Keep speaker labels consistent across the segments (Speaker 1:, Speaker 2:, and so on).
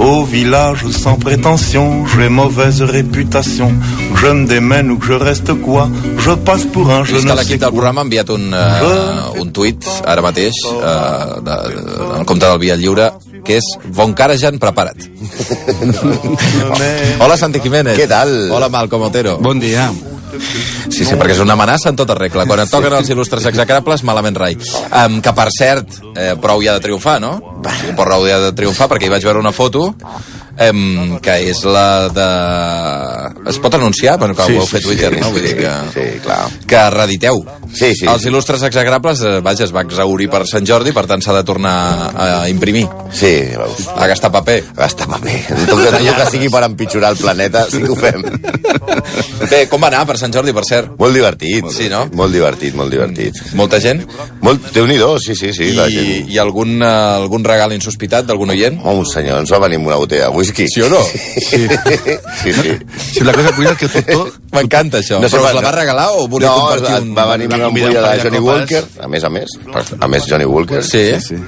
Speaker 1: Au village sans prétention, j'ai mauvaise réputation. Je me démène ou que je reste quoi Je passe pour un je
Speaker 2: És que
Speaker 1: ne sais
Speaker 2: l'equip del programa ha enviat un,
Speaker 3: Ah.
Speaker 2: uh, un tuit ara mateix uh, de, de, en compte del Via Lliure que és Bon cara ja han preparat. Hola, Santi Jiménez.
Speaker 3: Què tal?
Speaker 2: Hola, Malcom Otero.
Speaker 3: Bon dia.
Speaker 2: Sí, sí, perquè és una amenaça en tota regla. Quan et toquen els il·lustres execrables, malament rai. Um, que, per cert, eh, prou hi ha de triomfar, no? Prou hi ha de triomfar, perquè hi vaig veure una foto um, que és la de... Es pot anunciar? Bueno, que sí, ho heu fet Twitter, no? Vull dir que...
Speaker 3: Sí, clar.
Speaker 2: que reediteu.
Speaker 3: Sí, sí.
Speaker 2: Els il·lustres exagrables, eh, vaja, es va exaurir per Sant Jordi, per tant s'ha de tornar a imprimir,
Speaker 3: Sí, veus.
Speaker 2: a gastar paper.
Speaker 3: Està bé. Tot que, allò que sigui per empitjorar el planeta, sí que ho fem.
Speaker 2: Bé, com va anar per Sant Jordi, per cert?
Speaker 3: Molt divertit.
Speaker 2: Sí, no?
Speaker 3: Molt divertit, molt divertit.
Speaker 2: Molta gent?
Speaker 3: Molt... Déu-n'hi-do, sí, sí, sí. La
Speaker 2: I,
Speaker 3: gent...
Speaker 2: i algun, eh, algun regal insospitat d'algun oient?
Speaker 3: Oh, senyor, ens va venir amb una botella de whisky.
Speaker 2: Sí o no?
Speaker 3: Sí, sí. sí.
Speaker 4: Sí, la cosa curiosa es que Totó...
Speaker 2: M'encanta això.
Speaker 3: No sé
Speaker 2: Però us
Speaker 3: pas-
Speaker 2: la va regalar o volia
Speaker 3: No,
Speaker 2: compartir
Speaker 3: es-
Speaker 2: un...
Speaker 3: va venir amb una
Speaker 4: convidar
Speaker 3: ampolla
Speaker 4: un
Speaker 3: de
Speaker 4: parell de
Speaker 3: Johnny
Speaker 4: copes.
Speaker 3: Walker, a més, a més, per- a més Johnny Walker,
Speaker 2: Sí. sí,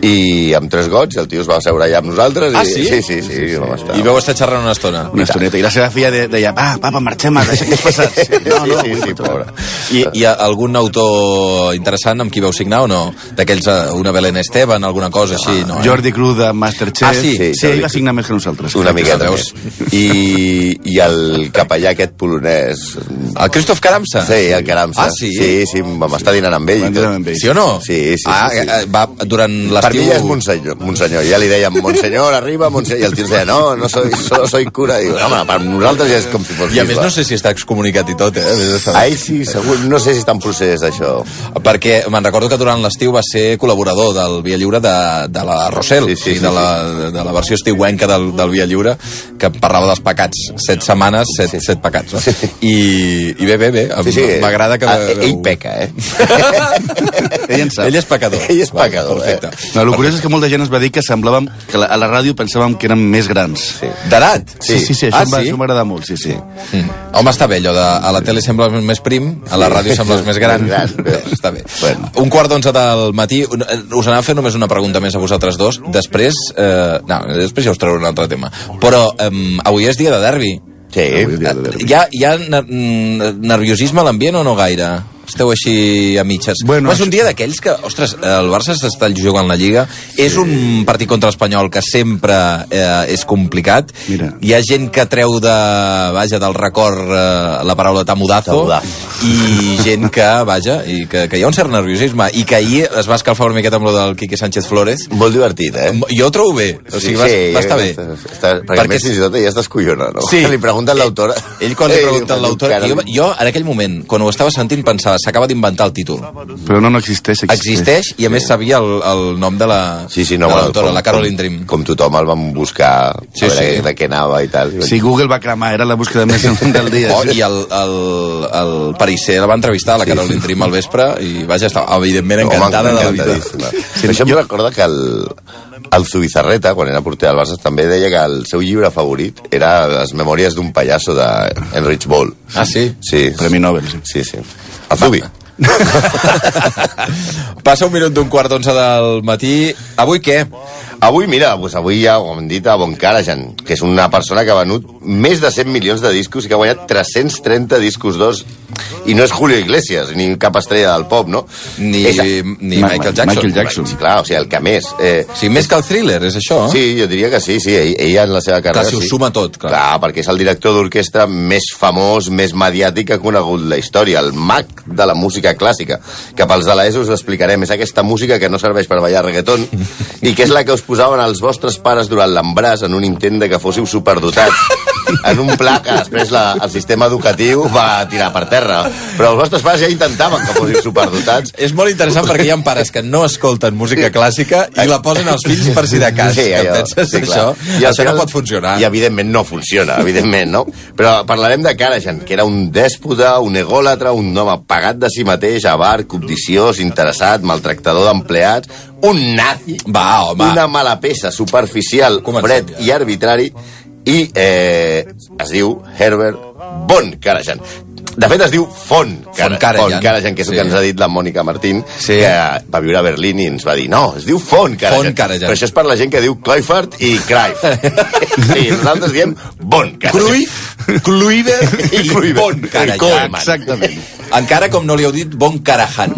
Speaker 3: i amb tres gots, el tio es va asseure allà amb nosaltres.
Speaker 2: Ah,
Speaker 3: i,
Speaker 2: sí?
Speaker 3: Sí, sí, sí, sí, vam estar.
Speaker 2: I vau estar xerrant una estona.
Speaker 4: Una estoneta. I la seva filla de, deia, va, papa, marxem, deixa'ns passar. Sí, no, no,
Speaker 3: sí, sí, sí, pobre.
Speaker 2: I, I algun autor interessant amb qui vau signar o no? D'aquells, eh, una Belén Esteban, alguna cosa així, no? eh?
Speaker 4: Jordi Cruz de Masterchef.
Speaker 2: Ah, sí?
Speaker 4: Sí,
Speaker 3: Sí, Jordi
Speaker 4: ell va signar més que nosaltres.
Speaker 3: Una miqueta
Speaker 2: veus?
Speaker 3: més. I, I el capellà aquest polonès...
Speaker 2: El Christoph Karamsa?
Speaker 3: Sí, el Karamsa.
Speaker 2: Ah, sí?
Speaker 3: Sí, sí, vam estar dinant amb ell i
Speaker 4: Van
Speaker 3: tot.
Speaker 4: dinar amb ell.
Speaker 2: Sí o no?
Speaker 3: Sí, sí,
Speaker 2: Ah,
Speaker 3: sí, sí.
Speaker 2: eh, va, durant
Speaker 3: Per mi
Speaker 2: l'estiu...
Speaker 3: ja és Monsenyor, Monsenyor. Ja li deien, Monsenyor, arriba, Monsenyor. I el tio ens deia, no, no soy, solo soy cura. Diu, home, per nosaltres ja és com si fos
Speaker 2: I a més
Speaker 3: bisbe."
Speaker 2: no sé si està excomunicat i tot, eh? A més, està-
Speaker 3: A ell sí, segur. No sé si està en procés, això.
Speaker 2: Perquè me'n recordo que durant l'estiu va ser col·laborador del Via Lliure de, de la Rossell,
Speaker 3: Sí, sí,
Speaker 2: i
Speaker 3: sí,
Speaker 2: de, la, de la versió estiuenca del, del Via Lliure, que parlava dels pecats. Set setmanes, set, set pecats. No? I, I bé, bé, bé, em-
Speaker 3: Sí, sí.
Speaker 2: m'agrada que...
Speaker 3: Ah, ell peca, eh?
Speaker 4: Ell en sap.
Speaker 2: Ell és pecador.
Speaker 3: Ell és
Speaker 2: Val,
Speaker 3: pecador, eh?
Speaker 2: Perfecte.
Speaker 4: No, el curiós és que molta gent ens va dir que semblàvem, que la- a la ràdio pensàvem que érem més grans. Sí.
Speaker 2: D'edat?
Speaker 4: Sí, sí, sí, això
Speaker 2: ah,
Speaker 4: em va-
Speaker 2: sí?
Speaker 4: això m'agrada molt, sí, sí.
Speaker 2: Mm. Home, està bé allò de... A la tele sembles més prim, a la ràdio sembles més gran.
Speaker 3: Més gran,
Speaker 2: Bé,
Speaker 3: però-
Speaker 2: està bé.
Speaker 3: Bueno.
Speaker 2: Un quart d'onze del matí. un- eh, Us anava a fer només una pregunta més a vosaltres dos. Després... Eh, no, després ja us trauré un altre tema. Però eh, avui és dia de derbi. eh,
Speaker 3: Sí.
Speaker 2: Hi ha, hi ha ner mm, nerviosisme a l'ambient o no gaire? Esteu així a mitges.
Speaker 4: Bueno,
Speaker 2: Però és un dia d'aquells que, ostres, eh, el Barça s'està jugant la Lliga, és un partit contra l'Espanyol que sempre eh, és complicat.
Speaker 4: Mira.
Speaker 2: Hi ha gent que treu de, vaja, del record eh, la paraula tamudazo,
Speaker 3: Tamudazo.
Speaker 2: i gent que, vaja, i que, que hi ha un cert nerviosisme, i que ahir es va escalfar una miqueta amb lo del Quique Sánchez Flores.
Speaker 3: Molt divertit, eh?
Speaker 2: Jo ho trobo bé, o sigui, va, va estar bé.
Speaker 3: Està, està, perquè,
Speaker 2: Perquè-
Speaker 3: perquè més, fins i tot ja estàs collona, no?
Speaker 2: Sí. Eh,
Speaker 3: Li pregunten l'autora.
Speaker 2: Ell quan li
Speaker 3: Ei,
Speaker 2: pregunta
Speaker 3: diu,
Speaker 2: l'autor...
Speaker 3: cara,
Speaker 2: Jo, jo, en aquell moment, quan ho estava sentint, pensava, s'acaba d'inventar el títol.
Speaker 4: Però no, no existeix.
Speaker 2: Existeix, i a més sabia el, el nom de la
Speaker 3: Sí, sí, no,
Speaker 2: de
Speaker 3: bueno,
Speaker 2: l'autora,
Speaker 3: com-
Speaker 2: la Caroline Dream.
Speaker 3: Com, com tothom el van buscar
Speaker 2: Sí,
Speaker 3: sí, a veure
Speaker 2: sí.
Speaker 3: sí. de què anava i tal. I
Speaker 4: Si Google va cremar, era la búsqueda més del dia.
Speaker 2: Oh, I el, el, el Parisser la va entrevistar, la Caroline Dream, al vespre, i vaja, estava evidentment
Speaker 3: Home,
Speaker 2: encantada de la vida.
Speaker 3: encantadíssima. Sí, Això em recorda que el, el Zubizarreta, quan era porter del Barça, també deia que el seu llibre favorit era Les memòries d'un pallasso d'Enrich Boll.
Speaker 2: Ah, sí?
Speaker 3: Sí.
Speaker 4: Premi Nobel, sí.
Speaker 3: Sí, sí. El Zubi.
Speaker 2: Passa un minut d'un quart d'onze del matí. Avui què?
Speaker 3: Avui, mira, doncs avui ja ho hem dit a Boncarajan, que és una persona que ha venut més de 100 milions de discos i que ha guanyat 330 discos d'os. I no és Julio Iglesias, ni cap estrella del pop, no?
Speaker 2: Ni,
Speaker 3: És,
Speaker 2: ni
Speaker 4: Ma-
Speaker 2: Michael Jackson.
Speaker 4: Michael Jackson.
Speaker 3: Sí, clar, o sigui, el que més... Eh,
Speaker 2: Sí, més que el thriller, és això? eh?
Speaker 3: Sí, jo diria que sí, sí, ell- ella en la seva carrera...
Speaker 2: Clar, si ho
Speaker 3: sí.
Speaker 2: suma tot, clar.
Speaker 3: clar. perquè és el director d'orquestra més famós, més mediàtic que ha conegut la història, el mag de la música clàssica, que pels de l'ESO us ho explicarem, és aquesta música que no serveix per ballar reggaeton i que és la que us posaven els vostres pares durant l'embràs en un intent de que fóssiu superdotats en un pla que després la, el sistema educatiu va tirar per terra. Però els vostres pares ja intentaven que fossin superdotats.
Speaker 2: És molt interessant perquè hi ha pares que no escolten música clàssica i la posen als fills per si de cas.
Speaker 3: Sí,
Speaker 2: que
Speaker 3: allò,
Speaker 2: penses
Speaker 3: sí, clar.
Speaker 2: això?
Speaker 3: I al
Speaker 2: això no
Speaker 3: final-
Speaker 2: pot funcionar.
Speaker 3: I evidentment no funciona, evidentment, no? Però parlarem de Karajan, que era un dèspota, un egòlatra, un home pagat de si mateix, avar, cobdiciós, interessat, maltractador d'empleats, un nazi,
Speaker 2: Va, home.
Speaker 3: una mala peça, superficial,
Speaker 2: Comencem
Speaker 3: fred
Speaker 2: ja.
Speaker 3: i arbitrari, i eh, es diu Herbert Von Karajan. De fet, es diu Font Kara-
Speaker 2: Von Karajan.
Speaker 3: Von Karajan, que és el
Speaker 2: Sí.
Speaker 3: que ens ha dit la Mònica Martín,
Speaker 2: Sí.
Speaker 3: que va viure a Berlín i ens va dir no, es diu Font Karajan.
Speaker 2: Von Karajan.
Speaker 3: Però això és per la gent que diu Cruyffert i Cruyff. sí, nosaltres diem Bon Karajan.
Speaker 2: Cruyff, Cluiver i Bon Carajan.
Speaker 4: Exactament.
Speaker 2: Encara com no li heu dit Bon Carajan.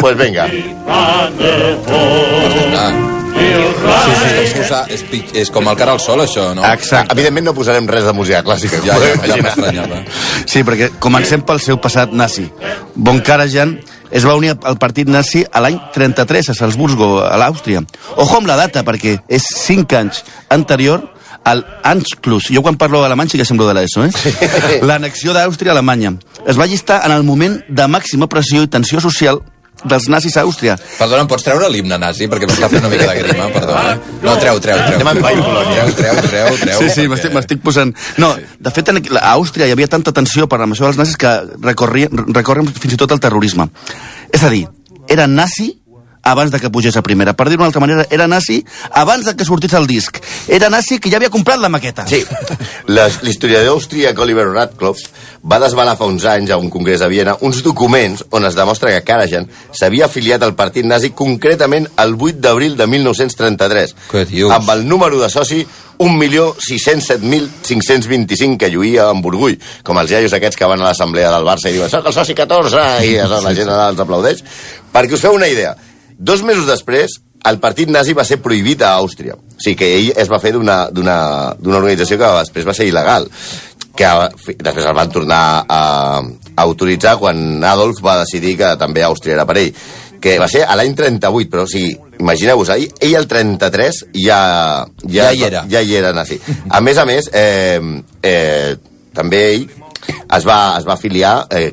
Speaker 3: pues Doncs vinga.
Speaker 2: Ah. Sí, sí, és, posar, és, pi- és com el cara al sol, això, no?
Speaker 4: Exacte.
Speaker 3: Evidentment no posarem res de música clàssica.
Speaker 2: Ja, ja,
Speaker 3: podeu
Speaker 2: ja
Speaker 3: imaginar.
Speaker 2: m'estranyava.
Speaker 4: Sí, perquè comencem pel seu passat nazi. Von Karajan es va unir al partit nazi a l'any 33 a Salzburgo, a l'Àustria. Ojo amb la data, perquè és 5 anys anterior al Anschluss. Jo quan parlo alemany sí que semblo de l'ESO, eh? L'anexió d'Àustria a Alemanya. Es va llistar en el moment de màxima pressió i tensió social dels nazis a Àustria.
Speaker 2: Perdona, em pots treure l'himne nazi? Perquè m'està fent una mica de grima, perdona. No, treu, treu, treu.
Speaker 3: Anem en Vall Polònia.
Speaker 2: Treu, treu, treu, treu.
Speaker 4: Sí,
Speaker 2: perquè-
Speaker 4: sí, m'estic m'estic posant... No, de fet, en, a Àustria hi havia tanta tensió per amb això dels nazis que recorrien, recorren fins i tot al terrorisme. És a dir, era nazi abans de que pugés a primera. Per dir-ho d'una altra manera, era nazi abans de que sortís el disc. Era nazi que ja havia comprat la maqueta.
Speaker 3: Sí. Les- L'historiador austríac Oliver Radcliffe va desvelar fa uns anys a un congrés a Viena uns documents on es demostra que Karajan s'havia afiliat al partit nazi concretament el 8 d'abril de 1933
Speaker 2: Què dius?
Speaker 3: amb el número de soci 1.607.525 que lluïa amb orgull, com els iaios aquests que van a l'assemblea del Barça i diuen soc el soci 14 i la gent els aplaudeix perquè us feu una idea dos mesos després el partit nazi va ser prohibit a Àustria o sigui que ell es va fer d'una d'una- d'una organització que després va ser il·legal que fi- després el van tornar a, a autoritzar quan Adolf va decidir que també Àustria era per ell que va ser a l'any 38 però o sigui, imagineu-vos, ahir- ell el 33 ja,
Speaker 2: Ja hi era.
Speaker 3: ja hi era nazi. A més a més, eh, eh, també ell es va, es va afiliar eh,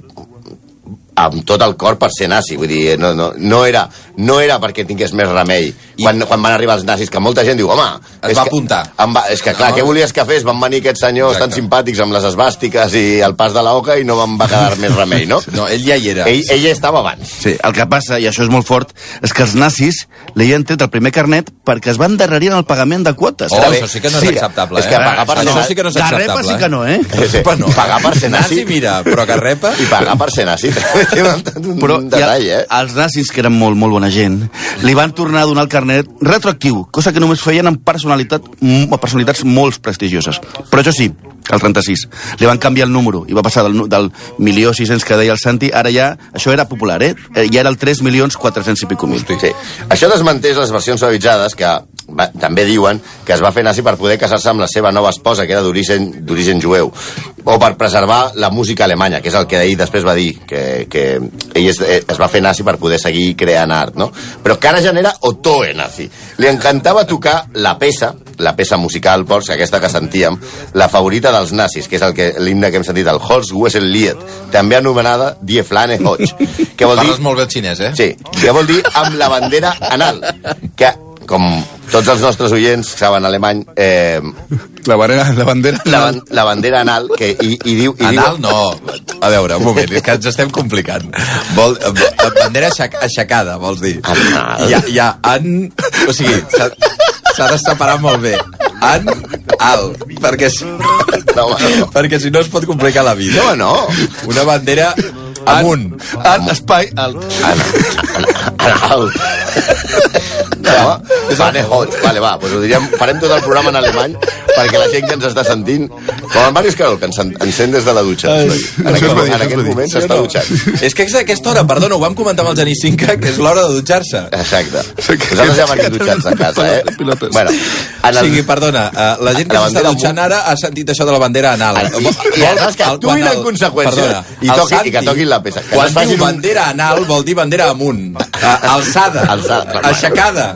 Speaker 3: amb tot el cor per ser nazi. Vull dir, eh, no, no, no, era, no era perquè tingués més remei. Quan, quan van arribar els nazis, que molta gent diu, home...
Speaker 2: Es
Speaker 3: és
Speaker 2: va
Speaker 3: que-
Speaker 2: apuntar.
Speaker 3: Em va, és que, clar,
Speaker 2: No.
Speaker 3: què volies que fes? Van venir aquests senyors
Speaker 2: Exacte.
Speaker 3: tan simpàtics amb les esbàstiques i el pas de la oca i no em va quedar més remei, no?
Speaker 2: No, ell ja hi era.
Speaker 3: Ell, ell ja estava abans.
Speaker 4: Sí, el que passa, i això és molt fort, és que els nazis li han tret el primer carnet perquè es van darrerir en el pagament de quotes.
Speaker 2: Oh,
Speaker 3: Està bé.
Speaker 2: això sí que no és
Speaker 3: Sí,
Speaker 2: acceptable,
Speaker 3: és que
Speaker 2: eh?
Speaker 3: pagar per
Speaker 2: això
Speaker 3: anar-
Speaker 2: sí que no és
Speaker 4: de
Speaker 2: acceptable.
Speaker 4: repa sí que no, eh?
Speaker 2: Repa no.
Speaker 3: Pagar per ser nazi.
Speaker 2: mira, però que repa...
Speaker 3: I pagar per ser nazi. Té un, un
Speaker 4: Però
Speaker 3: detall, eh?
Speaker 4: els nazis, que eren molt, molt bona gent, li van tornar a donar el carnet retroactiu, cosa que només feien amb personalitat, amb personalitats molt prestigioses. Però això sí, el 36, li van canviar el número i va passar del, nu- del milió 600 que deia el Santi, ara ja, això era popular, eh? Eh, Ja era el 3 milions 400 i pico mil.
Speaker 3: Sí. Això desmenteix les versions suavitzades que va, també diuen que es va fer nazi per poder casar-se amb la seva nova esposa, que era d'origen d'origen jueu, o per preservar la música alemanya, que és el que ell després va dir, que, que ell es, eh, es va fer nazi per poder seguir creant art, no? Però que ara genera Otoe nazi. Li encantava tocar la peça, la peça musical, doncs, aquesta que sentíem, la favorita dels nazis, que és el que l'himne que hem sentit, el Horst Wessel Lied, també anomenada Die Flane Hodge, que vol dir
Speaker 2: Parles molt bé el xinès, eh?
Speaker 3: Sí, que vol dir amb la bandera anal, que com tots els nostres oients saben alemany, eh,
Speaker 2: La bandera... La bandera...
Speaker 3: la, ban la bandera anal, que i, i diu... I
Speaker 2: Anal,
Speaker 3: diu,
Speaker 2: no. A veure, un moment, és que ens estem complicant. Vol, eh, eh, bandera aixec, aixecada, vols dir.
Speaker 3: Anal.
Speaker 2: Ja, ja, an... O sigui, s'ha s'ha de separar molt bé. An, al. Perquè si,
Speaker 3: No, home.
Speaker 2: perquè si no es pot complicar la vida.
Speaker 3: No, no.
Speaker 2: Una bandera amunt.
Speaker 4: En espai alt.
Speaker 3: Anal. No, vale, hot. Vale, va, doncs ho diríem, farem tot el programa en alemany perquè la gent que ens està sentint... Com en Marius Carol, que ens en- ens sent des de la dutxa. en,
Speaker 4: això es
Speaker 3: aquest,
Speaker 4: va dir,
Speaker 3: en
Speaker 4: això es va
Speaker 3: aquest
Speaker 4: dir.
Speaker 3: moment s'està dutxant.
Speaker 2: És que és a aquesta hora, perdona, ho vam comentar amb el Geni Cinca, que és l'hora de dutxar-se.
Speaker 3: Exacte. Vosaltres ja veniu dutxats a casa, eh?
Speaker 4: Pilotes.
Speaker 3: Bueno,
Speaker 2: O
Speaker 3: en el,
Speaker 2: sigui, perdona, eh, la gent que
Speaker 3: La
Speaker 2: s'està
Speaker 3: bandera
Speaker 2: dutxant ara ha sentit això de la bandera anal.
Speaker 3: Ara, i- i aleshores que actuïn en conseqüència. I
Speaker 2: el
Speaker 3: toqui- i que toquin la peça. Que no
Speaker 2: quan
Speaker 3: es
Speaker 2: diu
Speaker 3: facin un-
Speaker 2: bandera anal vol dir bandera amunt, a- Ah, alçada,
Speaker 3: Alçada, clar.
Speaker 2: aixecada.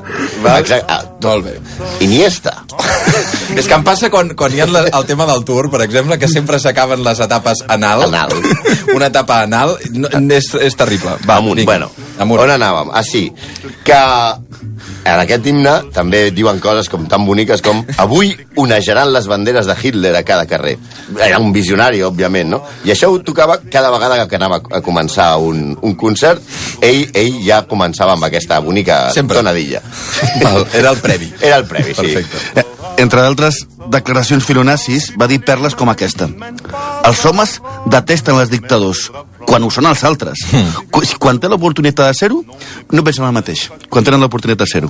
Speaker 3: Va, exacte. Ah,
Speaker 2: Molt bé.
Speaker 3: Iniesta.
Speaker 2: És que em passa quan, quan hi ha la, el tema del tour, per exemple, que sempre s'acaben les etapes anal.
Speaker 3: Anal.
Speaker 2: Una etapa anal no, és, és terrible.
Speaker 3: Va, amunt.
Speaker 2: vinga.
Speaker 3: Bueno,
Speaker 2: amunt.
Speaker 3: on anàvem? Ah, sí, que en aquest himne també diuen coses com tan boniques com avui onejaran les banderes de Hitler a cada carrer. Era un visionari, òbviament, no? I això ho tocava cada vegada que anava a començar un, un concert. Ell, ell ja començava amb aquesta bonica
Speaker 2: Sempre.
Speaker 3: tonadilla.
Speaker 2: Val, era el previ.
Speaker 3: Era el previ, sí.
Speaker 2: Perfecte.
Speaker 4: Eh, Entre d'altres declaracions filonazis, va dir perles com aquesta. Els homes detesten els dictadors, quan ho són els altres. Qu- Quan té l'oportunitat de ser-ho, no pensen el mateix. Quan tenen l'oportunitat de ser-ho.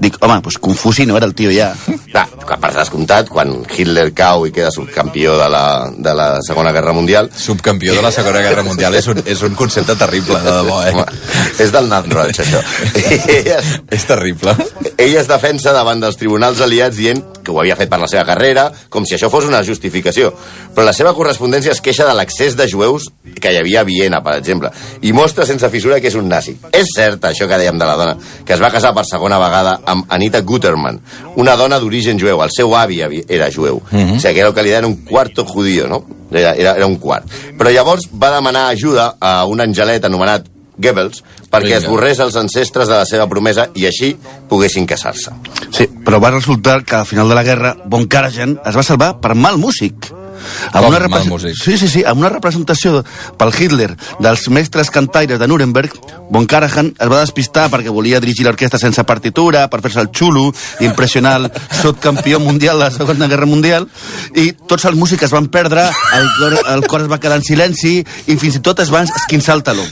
Speaker 4: Dic, home, doncs Confuci no era el tio ja.
Speaker 3: Clar, per descomptat, quan Hitler cau i queda subcampió de la, de la Segona Guerra Mundial,
Speaker 2: Subcampió de la Segona Guerra Mundial és un, és un concepte terrible, de debò,
Speaker 3: Home,
Speaker 2: eh?
Speaker 3: és del Nan Roig, això. Ell es,
Speaker 2: És terrible.
Speaker 3: ell es defensa davant dels tribunals aliats dient que ho havia fet per la seva carrera, com si això fos una justificació. Però la seva correspondència es queixa de l'accés de jueus que hi havia a Viena, per exemple, i mostra sense fissura que és un nazi. És cert, això que dèiem de la dona, que es va casar per segona vegada amb Anita Guterman, una dona d'origen jueu. El seu avi havi- era jueu. O sigui, que era el que li deien un quarto judío, no? Era, era, era un quart. Però llavors va demanar ajuda a un angelet anomenat Goebbels perquè
Speaker 2: Vinga.
Speaker 3: esborrés els ancestres de la seva promesa i així poguessin casar-se.
Speaker 4: Sí, però va resultar que al final de la guerra Von Karajan es va salvar per mal músic.
Speaker 2: Com
Speaker 4: una
Speaker 2: mal
Speaker 4: represen-
Speaker 2: músic?
Speaker 4: Sí, sí, sí, amb una representació pel Hitler dels mestres cantaires de Nuremberg, Von Karajan es va despistar perquè volia dirigir l'orquestra sense partitura, per fer-se el xulo, impressionar el subcampió mundial de la Segona Guerra Mundial, i tots els músics es van perdre, el cor, el cor es va quedar en silenci, i fins i tot es van esquinçar el taló.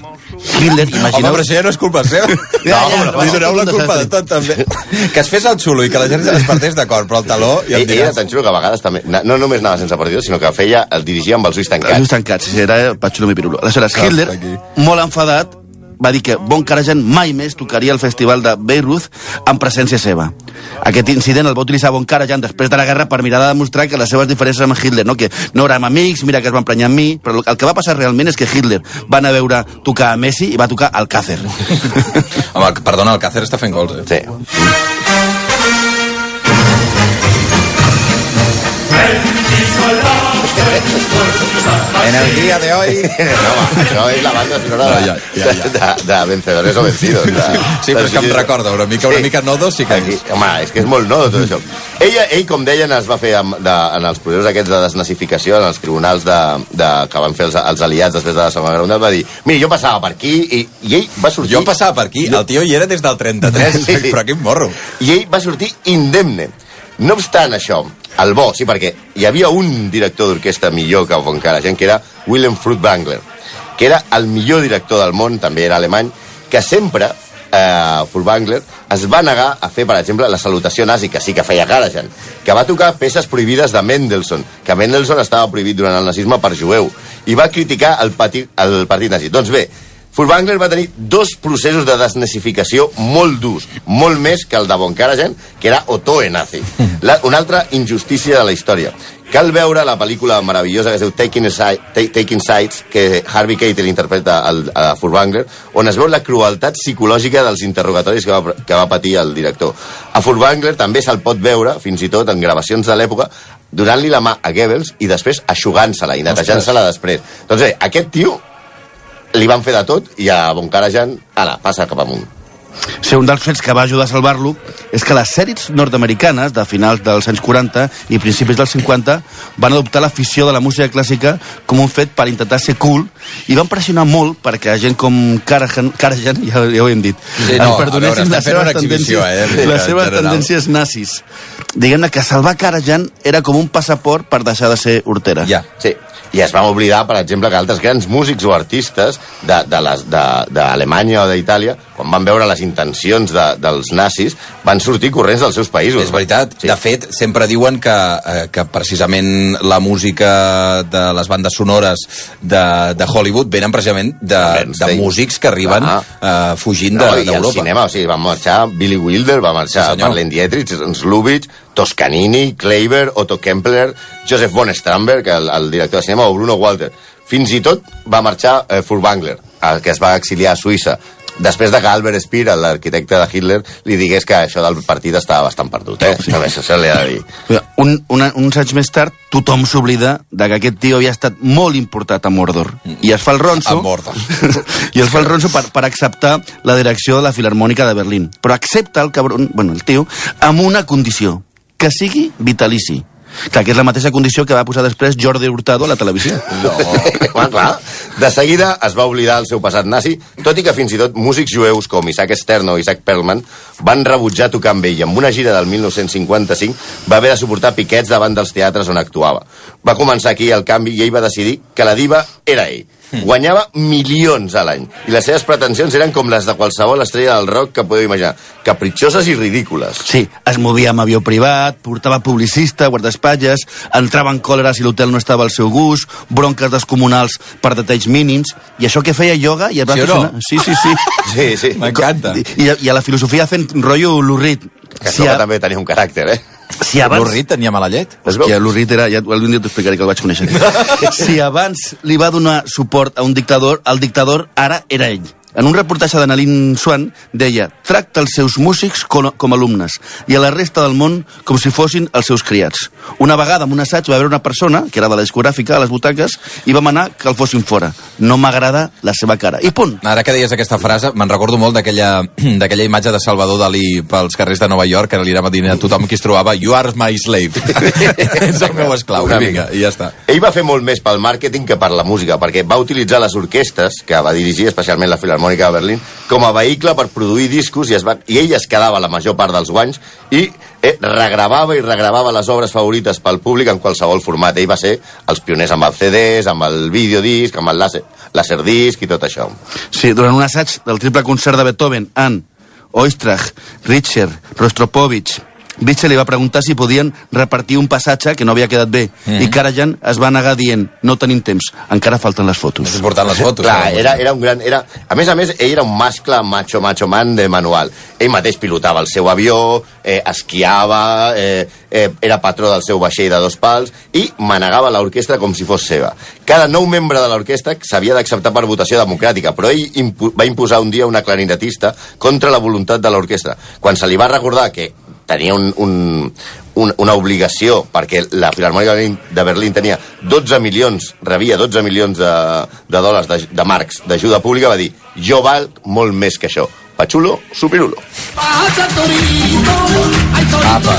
Speaker 4: Hitler,
Speaker 2: Home,
Speaker 4: imagineu...
Speaker 2: però això ja no és culpa seva.
Speaker 4: Ja, ja,
Speaker 2: home,
Speaker 4: no,
Speaker 2: li doneu
Speaker 4: és
Speaker 2: la
Speaker 4: un
Speaker 2: culpa de
Speaker 4: desastre.
Speaker 2: tot, també. Que es fes el xulo i que la gent se despertés d'acord, però el taló ja
Speaker 3: I,
Speaker 2: em
Speaker 3: ell era
Speaker 2: diràs.
Speaker 3: tan xulo que a vegades també... na- No només anava sense partidor, sinó que feia, el dirigia amb els ulls
Speaker 4: Els ulls
Speaker 3: tancats.
Speaker 4: tancats, era el Patxulo mi pirulo. Aleshores,
Speaker 2: Clar,
Speaker 4: Hitler,
Speaker 2: aquí.
Speaker 4: molt enfadat, va dir que Bon Karajan mai més tocaria el festival de Beirut en presència seva. Aquest incident el va utilitzar Bon Karajan després de la guerra per mirar de demostrar que les seves diferències amb Hitler, no? que no érem amics, mira que es va emprenyar amb mi, però el que va passar realment és que Hitler va anar a veure tocar a Messi i va tocar al Càcer.
Speaker 2: Home, perdona, el Càcer està fent gols, eh?
Speaker 3: Sí.
Speaker 2: En el dia de hoy...
Speaker 3: No, va, això és la banda sonora
Speaker 2: No,
Speaker 3: de,
Speaker 2: ja, ja, ja.
Speaker 3: de, de, Vencedores o Vencidos. De,
Speaker 2: Sí, però és que em recorda una mica, una mica nodo sí que
Speaker 3: Aquí,
Speaker 2: és.
Speaker 3: home, és que és molt nodo tot això. Ella, ell, com deien, es va fer amb, de, en els processos aquests de desnazificació, en els tribunals de, de, que van fer els, els aliats després de la Segona Guerra Mundial, va dir, mira, jo passava per aquí, i, i ell va sortir...
Speaker 2: Jo passava per aquí, el tio hi era des del 33,
Speaker 3: Sí, sí.
Speaker 2: però quin morro.
Speaker 3: i ell va sortir indemne. No obstant això, el bo, sí, perquè hi havia un director d'orquestra millor que Von Karajan, que era Willem Furtwängler, que era el millor director del món, també era alemany, que sempre, eh, Furtwängler, es va negar a fer, per exemple, la salutació nazi, que sí que feia Karajan, que va tocar peces prohibides de Mendelssohn, que Mendelssohn estava prohibit durant el nazisme per jueu, i va criticar el, pati, el partit nazi. Doncs bé, Furtwängler va tenir dos processos de desnazificació molt durs, molt més que el de Von Karajan, que era Otoe nazi. La, una altra injustícia de la història. Cal veure la pel·lícula meravellosa que es diu Taking, Side, Ta- Taking Sides, que Harvey Keitel interpreta al, a Furtwängler, on es veu la crueltat psicològica dels interrogatoris que va, que va patir el director. A Furtwängler també se'l pot veure, fins i tot en gravacions de l'època, donant-li la mà a Goebbels i després aixugant-se-la i netejant-se-la després. Doncs bé, aquest tio li van fer de tot i a Bon Karajan, ala, passa cap amunt.
Speaker 4: Sí, un dels fets que va ajudar a salvar-lo és que les sèries nord-americanes de finals dels anys 40 i principis dels 50 van adoptar l'afició de la música clàssica com un fet per intentar ser cool i van pressionar molt perquè gent com Karajan, Karajan ja, ja ho hem dit,
Speaker 2: Sí, no,
Speaker 4: em
Speaker 2: a veure,
Speaker 4: perdonessin
Speaker 2: estem
Speaker 4: les
Speaker 2: fent una
Speaker 4: seves,
Speaker 2: exhibició, eh,
Speaker 4: tendències,
Speaker 2: en
Speaker 4: les seves
Speaker 2: general.
Speaker 4: tendències nazis. Diguem-ne que salvar Karajan era com un passaport per deixar de ser hortera.
Speaker 2: Ja.
Speaker 3: Sí. I es van oblidar, per exemple, que altres grans músics o artistes de- de les- de- d'Alemanya o d'Itàlia, quan van veure les intencions de, dels nazis, van sortir corrents dels seus països.
Speaker 2: És veritat.
Speaker 3: Sí.
Speaker 2: De fet, sempre diuen que, eh, que precisament la música de les bandes sonores de, de Hollywood venen precisament de, de
Speaker 3: Bernstein.
Speaker 2: músics que arriben
Speaker 3: Ah.
Speaker 2: eh, fugint
Speaker 3: no,
Speaker 2: de-
Speaker 3: i al
Speaker 2: d'Europa.
Speaker 3: cinema, o sigui, van marxar Billy Wilder, va
Speaker 2: Sí,
Speaker 3: marxar sí,
Speaker 2: senyor.
Speaker 3: Marlene Dietrich, Slubitsch, Toscanini, Kleiber, Otto Kempler, Joseph von Stramberg, el, el director de cinema, o Bruno Walter. Fins i tot va marxar eh, Furtwängler, el que es va exiliar a Suïssa. després de que Albert Speer, l'arquitecte de Hitler, li digués que això del partit estava bastant perdut, eh? També això se li ha de dir.
Speaker 4: Un, una, uns anys més tard, tothom s'oblida de que aquest tio havia estat molt importat a Mordor. I es fa el ronso...
Speaker 2: Mm. A Mordor.
Speaker 4: I es fa el ronso per, per acceptar la direcció de la Filarmònica de Berlín. Però accepta el cabron, bueno, el tio, amb una condició, que sigui vitalici. Clar, que és la mateixa condició que va posar després Jordi Hurtado a la televisió.
Speaker 3: No. Clar, clar. De seguida es va oblidar el seu passat nazi, tot i que fins i tot músics jueus com Isaac Stern o Isaac Perlman van rebutjar tocar amb ell. En una gira del 1955 va haver de suportar piquets davant dels teatres on actuava. Va començar aquí el canvi i ell va decidir que la diva era ell. Guanyava milions a l'any i les seves pretensions eren com les de qualsevol estrella del rock que podeu imaginar, capritxoses i ridícules.
Speaker 4: Sí, es movia amb avió privat, portava publicista, guardaespatlles, entrava en còlera si l'hotel no estava al seu gust, bronques descomunals per detalls mínims, i això que feia ioga i es va
Speaker 2: Sí o no?
Speaker 4: aficionar- Sí, sí, sí.
Speaker 3: Sí, sí.
Speaker 2: M'encanta.
Speaker 4: I, I a la filosofia fent rotllo l'urrit.
Speaker 3: Que això que també tenia un caràcter, eh?
Speaker 4: si
Speaker 2: L'Urrit tenia mala llet?
Speaker 4: Hòstia, l'Urrit era... Ja, algun dia t'ho explicaré que el vaig conèixer. si abans li va donar suport a un dictador, el dictador ara era ell. En un reportatge d'Analín Swan deia «Tracta els seus músics com, com alumnes i a la resta del món com si fossin els seus criats». Una vegada en un assaig va haver una persona, que era de la discogràfica, a les butaques, i va manar que el fossin fora. No m'agrada la seva cara. I punt.
Speaker 2: Ara que deies aquesta frase, me'n recordo molt d'aquella d'aquella imatge de Salvador Dalí pels carrers de Nova York, que li anava dient a tothom qui es trobava You are my slave. Ets el meu esclau.
Speaker 3: Una
Speaker 2: Una vinga, i ja està.
Speaker 3: Ell va fer molt més pel màrqueting que per la música, perquè va utilitzar les orquestes, que va dirigir especialment la Filarmònica de Berlín, com a vehicle per produir discos i, es va, i ell es quedava la major part dels guanys i eh, regravava i regravava les obres favorites pel públic en qualsevol format. Ell va ser els pioners amb els CDs, amb el videodisc, amb el láser, laserdisc i tot això.
Speaker 4: Sí, durant un assaig del triple concert de Beethoven, en Oistrach, Richter, Rostropovich, Bitzel li va preguntar si podien repartir un passatge que no havia quedat bé mm. i Karajan es va negar dient no tenim temps, encara falten les
Speaker 2: És
Speaker 4: fotos.
Speaker 2: important les fotos. eh?
Speaker 3: Clar, era, era un gran... Era... A més a més, ell era un mascle macho, macho man de manual. Ell mateix pilotava el seu avió, eh, esquiava, eh, eh, era patró del seu vaixell de dos pals i manegava l'orquestra com si fos seva. Cada nou membre de l'orquestra s'havia d'acceptar per votació democràtica, però ell impu va imposar un dia una clarinetista contra la voluntat de l'orquestra. Quan se li va recordar que tenia un, un, un, una obligació, perquè la Filarmònica de Berlín- de Berlín tenia 12 milions, rebia 12 milions de, de dòlars, de, de marcs, d'ajuda pública, va dir, jo val molt més que això. Pachulo, supirulo.
Speaker 2: Apa.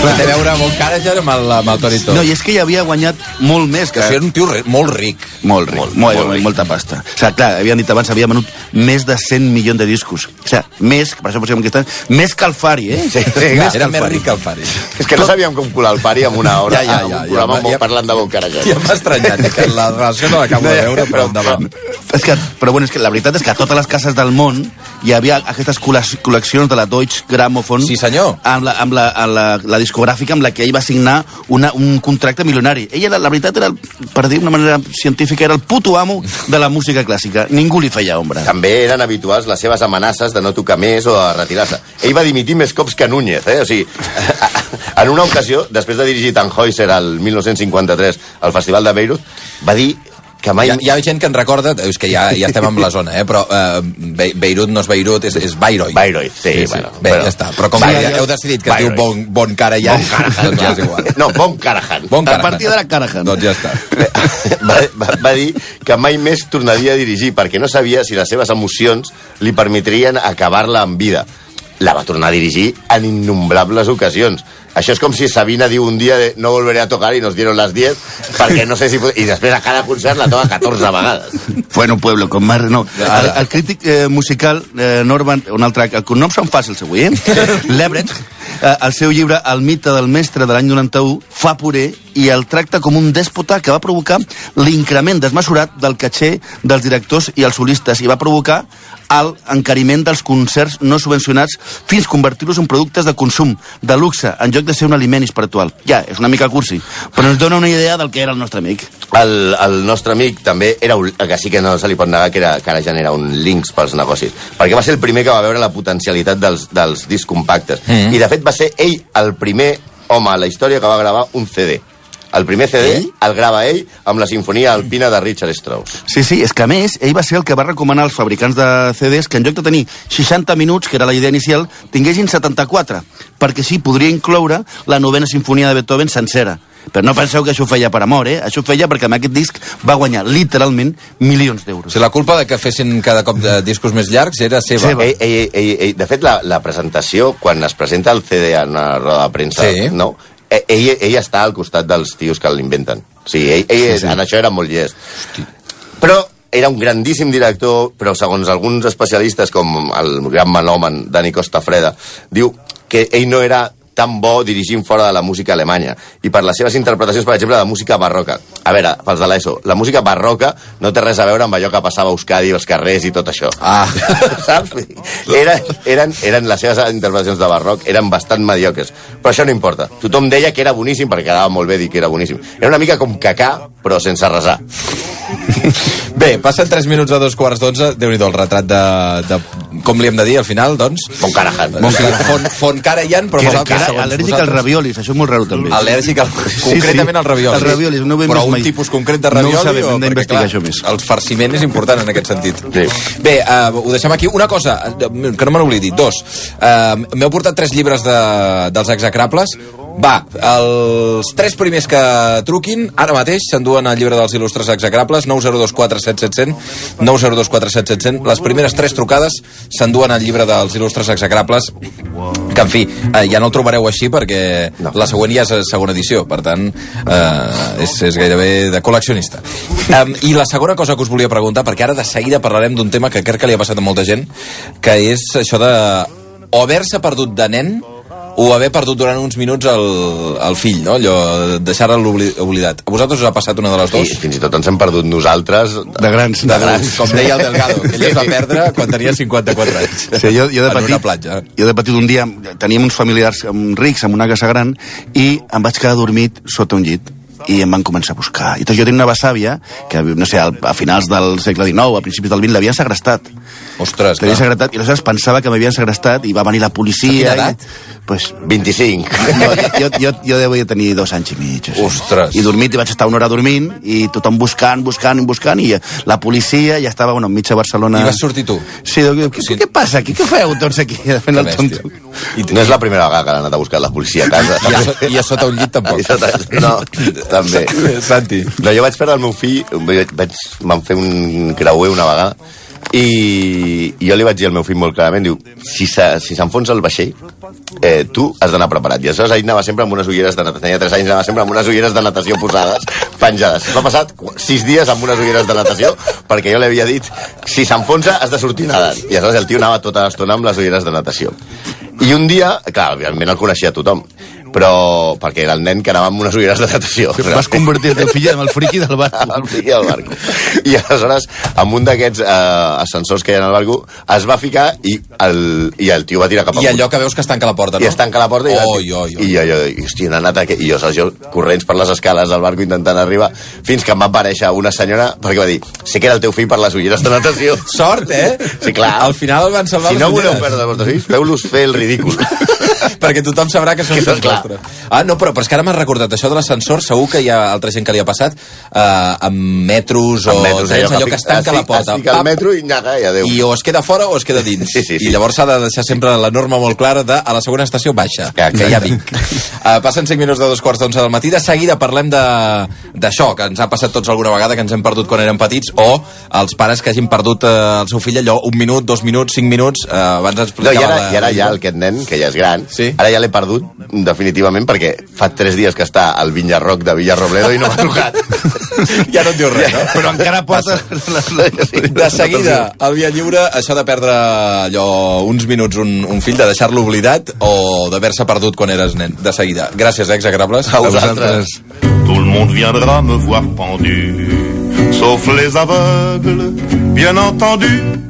Speaker 2: Clar, té a veure amb un cara ja amb el, amb el Torito.
Speaker 4: No, i és que ja havia guanyat molt més que...
Speaker 2: Que si era un tio re, molt ric.
Speaker 4: Molt ric, molt, molt, molt ric. molta pasta. O sigui, clar, havien dit abans, havia venut més de 100 milions de discos. O sigui, més, per això posem aquest any, més que el Fari, eh?
Speaker 3: Sí, sí,
Speaker 2: Era,
Speaker 3: clar.
Speaker 2: era més ric que el Fari.
Speaker 3: És que no sabíem com colar el pari amb una hora,
Speaker 2: Ja, ja,
Speaker 3: amb
Speaker 2: ja,
Speaker 3: un
Speaker 2: ja,
Speaker 3: programa
Speaker 2: ja,
Speaker 3: amb-
Speaker 2: ja.
Speaker 3: parlant de bon carajat.
Speaker 2: Ja m'ha estranyat, eh, que la relació no l'acabo de veure, però endavant.
Speaker 4: És que, però bueno, és que la veritat és que a totes les cases del món hi havia aquestes col·lec- col·leccions de la Deutsche Grammophon
Speaker 2: Sí, senyor.
Speaker 4: amb, la, amb, la, amb la, la discogràfica amb la que ell va signar una, un contracte milionari. Ell, era, la veritat, era, el- per dir d'una manera científica, era el puto amo de la música clàssica. Ningú li feia ombra.
Speaker 3: També eren habituals les seves amenaces de no tocar més o de retirar-se. Ell va dimitir més cops que Núñez, eh? O sigui, en una ocasió, després de dirigir Tannhäuser al 1953 al Festival de Beirut, va dir que mai...
Speaker 2: Hi ha, hi ha gent que en recorda, és que ja, ja estem amb la zona, eh? però eh, Be Beirut no és Beirut, és, és Bayreuth.
Speaker 3: Bayreuth, sí, bueno,
Speaker 2: Bé,
Speaker 3: però-
Speaker 2: ja està. Però com
Speaker 3: Sí,
Speaker 2: que
Speaker 3: ja-
Speaker 2: heu decidit que es diu
Speaker 3: Bayreuth.
Speaker 2: bon, bon cara ja,
Speaker 3: Bon Carahan.
Speaker 2: doncs ja és igual.
Speaker 3: No, Bon Carahan.
Speaker 2: Bon
Speaker 4: A
Speaker 2: Carahan.
Speaker 4: partir d'ara, Carahan.
Speaker 2: Doncs ja està.
Speaker 3: va, va, va dir que mai més tornaria a dirigir perquè no sabia si les seves emocions li permetrien acabar-la en vida. La va tornar a dirigir en innombrables ocasions. Això és com si Sabina diu un dia de, no volveré a tocar i nos dieron las 10 perquè no sé si... pot-" I després a cada concert la toca 14 vegades.
Speaker 4: Fue en un pueblo con mar... No. El, el crític eh, musical eh, Norman... Un altre... El cognom són fàcils, avui, eh? L'Ebret, eh, el seu llibre El mite del mestre de l'any 91 fa puré i el tracta com un dèspota que va provocar l'increment desmesurat del caché dels directors i els solistes i va provocar el encariment dels concerts no subvencionats fins convertir-los en productes de consum, de luxe, en lloc de ser un aliment espiritual. Ja, és una mica cursi, però ens dona una idea del que era el nostre amic.
Speaker 3: El, el nostre amic també era un, el que sí que no se li pot negar que, era, que ara ja n'era un links pels negocis, perquè va ser el primer que va veure la potencialitat dels, dels discs compactes. Mm. I de fet va ser ell el primer home a la història que va gravar un CD. El primer CD el grava ell amb la sinfonia alpina de Richard Strauss.
Speaker 4: Sí, sí, és que a més, ell va ser el que va recomanar als fabricants de CDs que en lloc de tenir 60 minuts, que era la idea inicial, tinguessin 74, perquè així podria incloure la novena sinfonia de Beethoven sencera. Però no penseu que això ho feia per amor, eh? Això ho feia perquè amb aquest disc va guanyar literalment milions
Speaker 2: O
Speaker 4: d'euros.
Speaker 2: sigui, la culpa de que fessin cada cop de discos més llargs era seva.
Speaker 4: Seva.
Speaker 2: seva.
Speaker 3: Ell, ell, ell, ell, ell, de fet, la, la presentació, quan es presenta el CD en una roda de premsa,
Speaker 2: Sí.
Speaker 3: no? Eh, ell, ell està al costat dels tios que l'inventen. O sigui, ell, ell sí,
Speaker 4: Sí, sí.
Speaker 3: sí. en això era molt llest. Però era un grandíssim director, però segons alguns especialistes, com el gran manòman Dani Costafreda, diu que ell no era tan bo dirigint fora de la música alemanya i per les seves interpretacions, per exemple, de música barroca. A veure, pels de l'ESO, la música barroca no té res a veure amb allò que passava a Euskadi, als carrers i tot això.
Speaker 2: Ah.
Speaker 3: Saps? Vull dir, Eren, eren, eren les seves interpretacions de barroc eren bastant mediocres, però això no importa. Tothom deia que era boníssim perquè quedava molt bé dir que era boníssim. Era una mica com cacà, però sense resar.
Speaker 2: Bé, passen 3 minuts a dos quarts d'onze, déu nhi el retrat de, de... Com li hem de dir al final, doncs?
Speaker 3: Bon Carajan.
Speaker 2: Bon Fon, fon cara hi han, però
Speaker 4: Que era, que
Speaker 2: vosaltres...
Speaker 4: era al·lèrgic als raviolis, això és molt raro també.
Speaker 2: Al·lèrgic al...
Speaker 4: Sí,
Speaker 2: concretament
Speaker 4: sí.
Speaker 2: al ravioli.
Speaker 4: Als raviolis, no ho hem
Speaker 2: Però
Speaker 4: vist
Speaker 2: un
Speaker 4: mai.
Speaker 2: tipus concret de
Speaker 4: No ho
Speaker 2: ravioli?
Speaker 4: sabem,
Speaker 2: o-
Speaker 4: hem
Speaker 2: perquè,
Speaker 4: d'investigar
Speaker 2: clar,
Speaker 4: això més.
Speaker 2: El farciment és important en aquest sentit.
Speaker 3: Sí.
Speaker 2: Bé, uh, ho deixem aquí. Una cosa, eh, que no me n'oblidi, dos. Uh, M'heu portat tres llibres de, dels execrables. Va, els tres primers que truquin, ara mateix s'enduen el llibre dels il·lustres execrables, 902477700, 902477700. Les primeres tres trucades s'enduen el llibre dels il·lustres execrables, que, en fi, eh, ja no el trobareu així perquè
Speaker 3: No.
Speaker 2: la següent ja és eh, segona edició, per tant, eh, és, és gairebé de col·leccionista. Um, I la segona cosa que us volia preguntar, perquè ara de seguida parlarem d'un tema que crec que li ha passat a molta gent, que és això de o haver-se perdut de nen o haver perdut durant uns minuts el, el fill, no? allò, deixar-lo obli- oblidat. A vosaltres us ha passat una de les
Speaker 3: I
Speaker 2: dues? Doncs.
Speaker 3: fins i tot ens hem perdut nosaltres.
Speaker 4: De grans.
Speaker 2: De grans, com deia el Delgado, que ell es va perdre quan tenia 54 anys.
Speaker 4: Sí, jo, jo de
Speaker 2: En
Speaker 4: petit,
Speaker 2: una platja.
Speaker 4: Jo de petit un dia teníem uns familiars um, rics amb una casa gran i em vaig quedar dormit sota un llit i em van començar a buscar. I tot jo tenia una besàvia que, no sé, al- a finals del segle XIX, a principis del XX, l'havien segrestat.
Speaker 2: Ostres,
Speaker 4: L'havien
Speaker 2: clar.
Speaker 4: segrestat i aleshores pensava que m'havien segrestat i va venir la policia.
Speaker 2: Ah. A quina edat?
Speaker 4: I, pues,
Speaker 3: 25.
Speaker 4: no, jo, jo, jo devia tenir dos anys i mig. o sigui.
Speaker 2: Ostres.
Speaker 4: I dormit, i vaig estar una hora dormint, i tothom buscant, buscant, buscant, i la policia ja estava, bueno, mitja Barcelona...
Speaker 2: I vas sortir tu?
Speaker 4: Sí, diu, què,
Speaker 2: Sí.
Speaker 4: què passa aquí? Què feu tots aquí? Fent el
Speaker 2: bèstia.
Speaker 4: tonto.
Speaker 3: No és la primera vegada que l'ha anat a buscar la policia a casa.
Speaker 2: I a, so- I a sota un llit tampoc.
Speaker 3: I sota- No, també.
Speaker 2: Santi.
Speaker 3: No, jo vaig perdre el meu fill, vaig, vaig- vam fer un creuer una vegada, i, i jo li vaig dir al meu fill molt clarament, diu, si se- si s'enfonsa el vaixell, eh, tu has d'anar preparat. I aleshores ell anava sempre amb unes ulleres de natació, tenia 3 anys, anava sempre amb unes ulleres de natació posades, penjades. S'ha passat 6 dies amb unes ulleres de natació, perquè jo li havia dit, si s'enfonsa has de sortir nedant. I aleshores el tio anava tota l'estona amb les ulleres de natació. I un dia, clar, evidentment el coneixia tothom, però perquè era el nen que anava amb unes ulleres de natació.
Speaker 4: Vas convertir el teu fill en el friqui del barco.
Speaker 3: Al fill al barco. I aleshores, amb un d'aquests eh, ascensors que hi ha al barco, es va ficar i el, i el tio va tirar cap
Speaker 2: I
Speaker 3: amunt.
Speaker 2: allò que veus que es tanca la porta, no?
Speaker 3: I es tanca la porta i,
Speaker 2: Oi, oi, oi.
Speaker 3: i jo, jo, i, hòstia, han anat aquí, i jo, saps, jo corrents per les escales del barco intentant arribar, fins que em va aparèixer una senyora perquè va dir, sé que era el teu fill per les ulleres de natació.
Speaker 2: Sort, eh?
Speaker 3: Sí, clar.
Speaker 2: Al final el van salvar
Speaker 3: Si
Speaker 2: les
Speaker 3: no voleu
Speaker 2: ulleres.
Speaker 3: perdre els vostres fills, feu-los fer el ridícul.
Speaker 2: perquè tothom sabrà que són
Speaker 3: Que són,
Speaker 2: els
Speaker 3: clar.
Speaker 2: vostres. Ah, no, però, però és que ara m'has recordat això de l'ascensor, segur que hi ha altra gent que li ha passat eh, amb metros o
Speaker 3: Amb metros,
Speaker 2: trens, allò que
Speaker 3: fic-
Speaker 2: es tanca la porta.
Speaker 3: Es fica
Speaker 2: Pam,
Speaker 3: al metro i nyaga i adéu.
Speaker 2: i o es queda fora o es queda dins.
Speaker 3: Sí, sí, sí.
Speaker 2: I llavors s'ha de deixar sempre la norma molt clara de a la segona estació baixa,
Speaker 3: Exacte.
Speaker 2: que ja vinc. Uh, passen 5 minuts de dos quarts d'onze del matí. De seguida parlem de- d'això, que ens ha passat tots alguna vegada, que ens hem perdut quan érem petits, o els pares que hagin perdut uh, el seu fill allò un minut, dos minuts, cinc minuts, uh, abans ens
Speaker 3: No, i
Speaker 2: explicava...
Speaker 3: ara,
Speaker 2: la-
Speaker 3: i ara ja el- aquest nen, que ja és gran,
Speaker 2: Sí.
Speaker 3: ara ja l'he perdut definitivament perquè fa tres dies que està al Vinyarroc de Villarrobledo i no m'ha trucat.
Speaker 2: Ja no et diu res, no?
Speaker 4: Però encara porta... les- les-
Speaker 2: De seguida, al Via Lliure, això de perdre allò uns minuts un, un fill, de deixar-lo oblidat o d'haver-se perdut quan eres nen. De seguida. Gràcies, exagrables.
Speaker 3: A vosaltres.
Speaker 1: Tout le monde viendra me voir pendu, sauf les aveugles, bien entendu.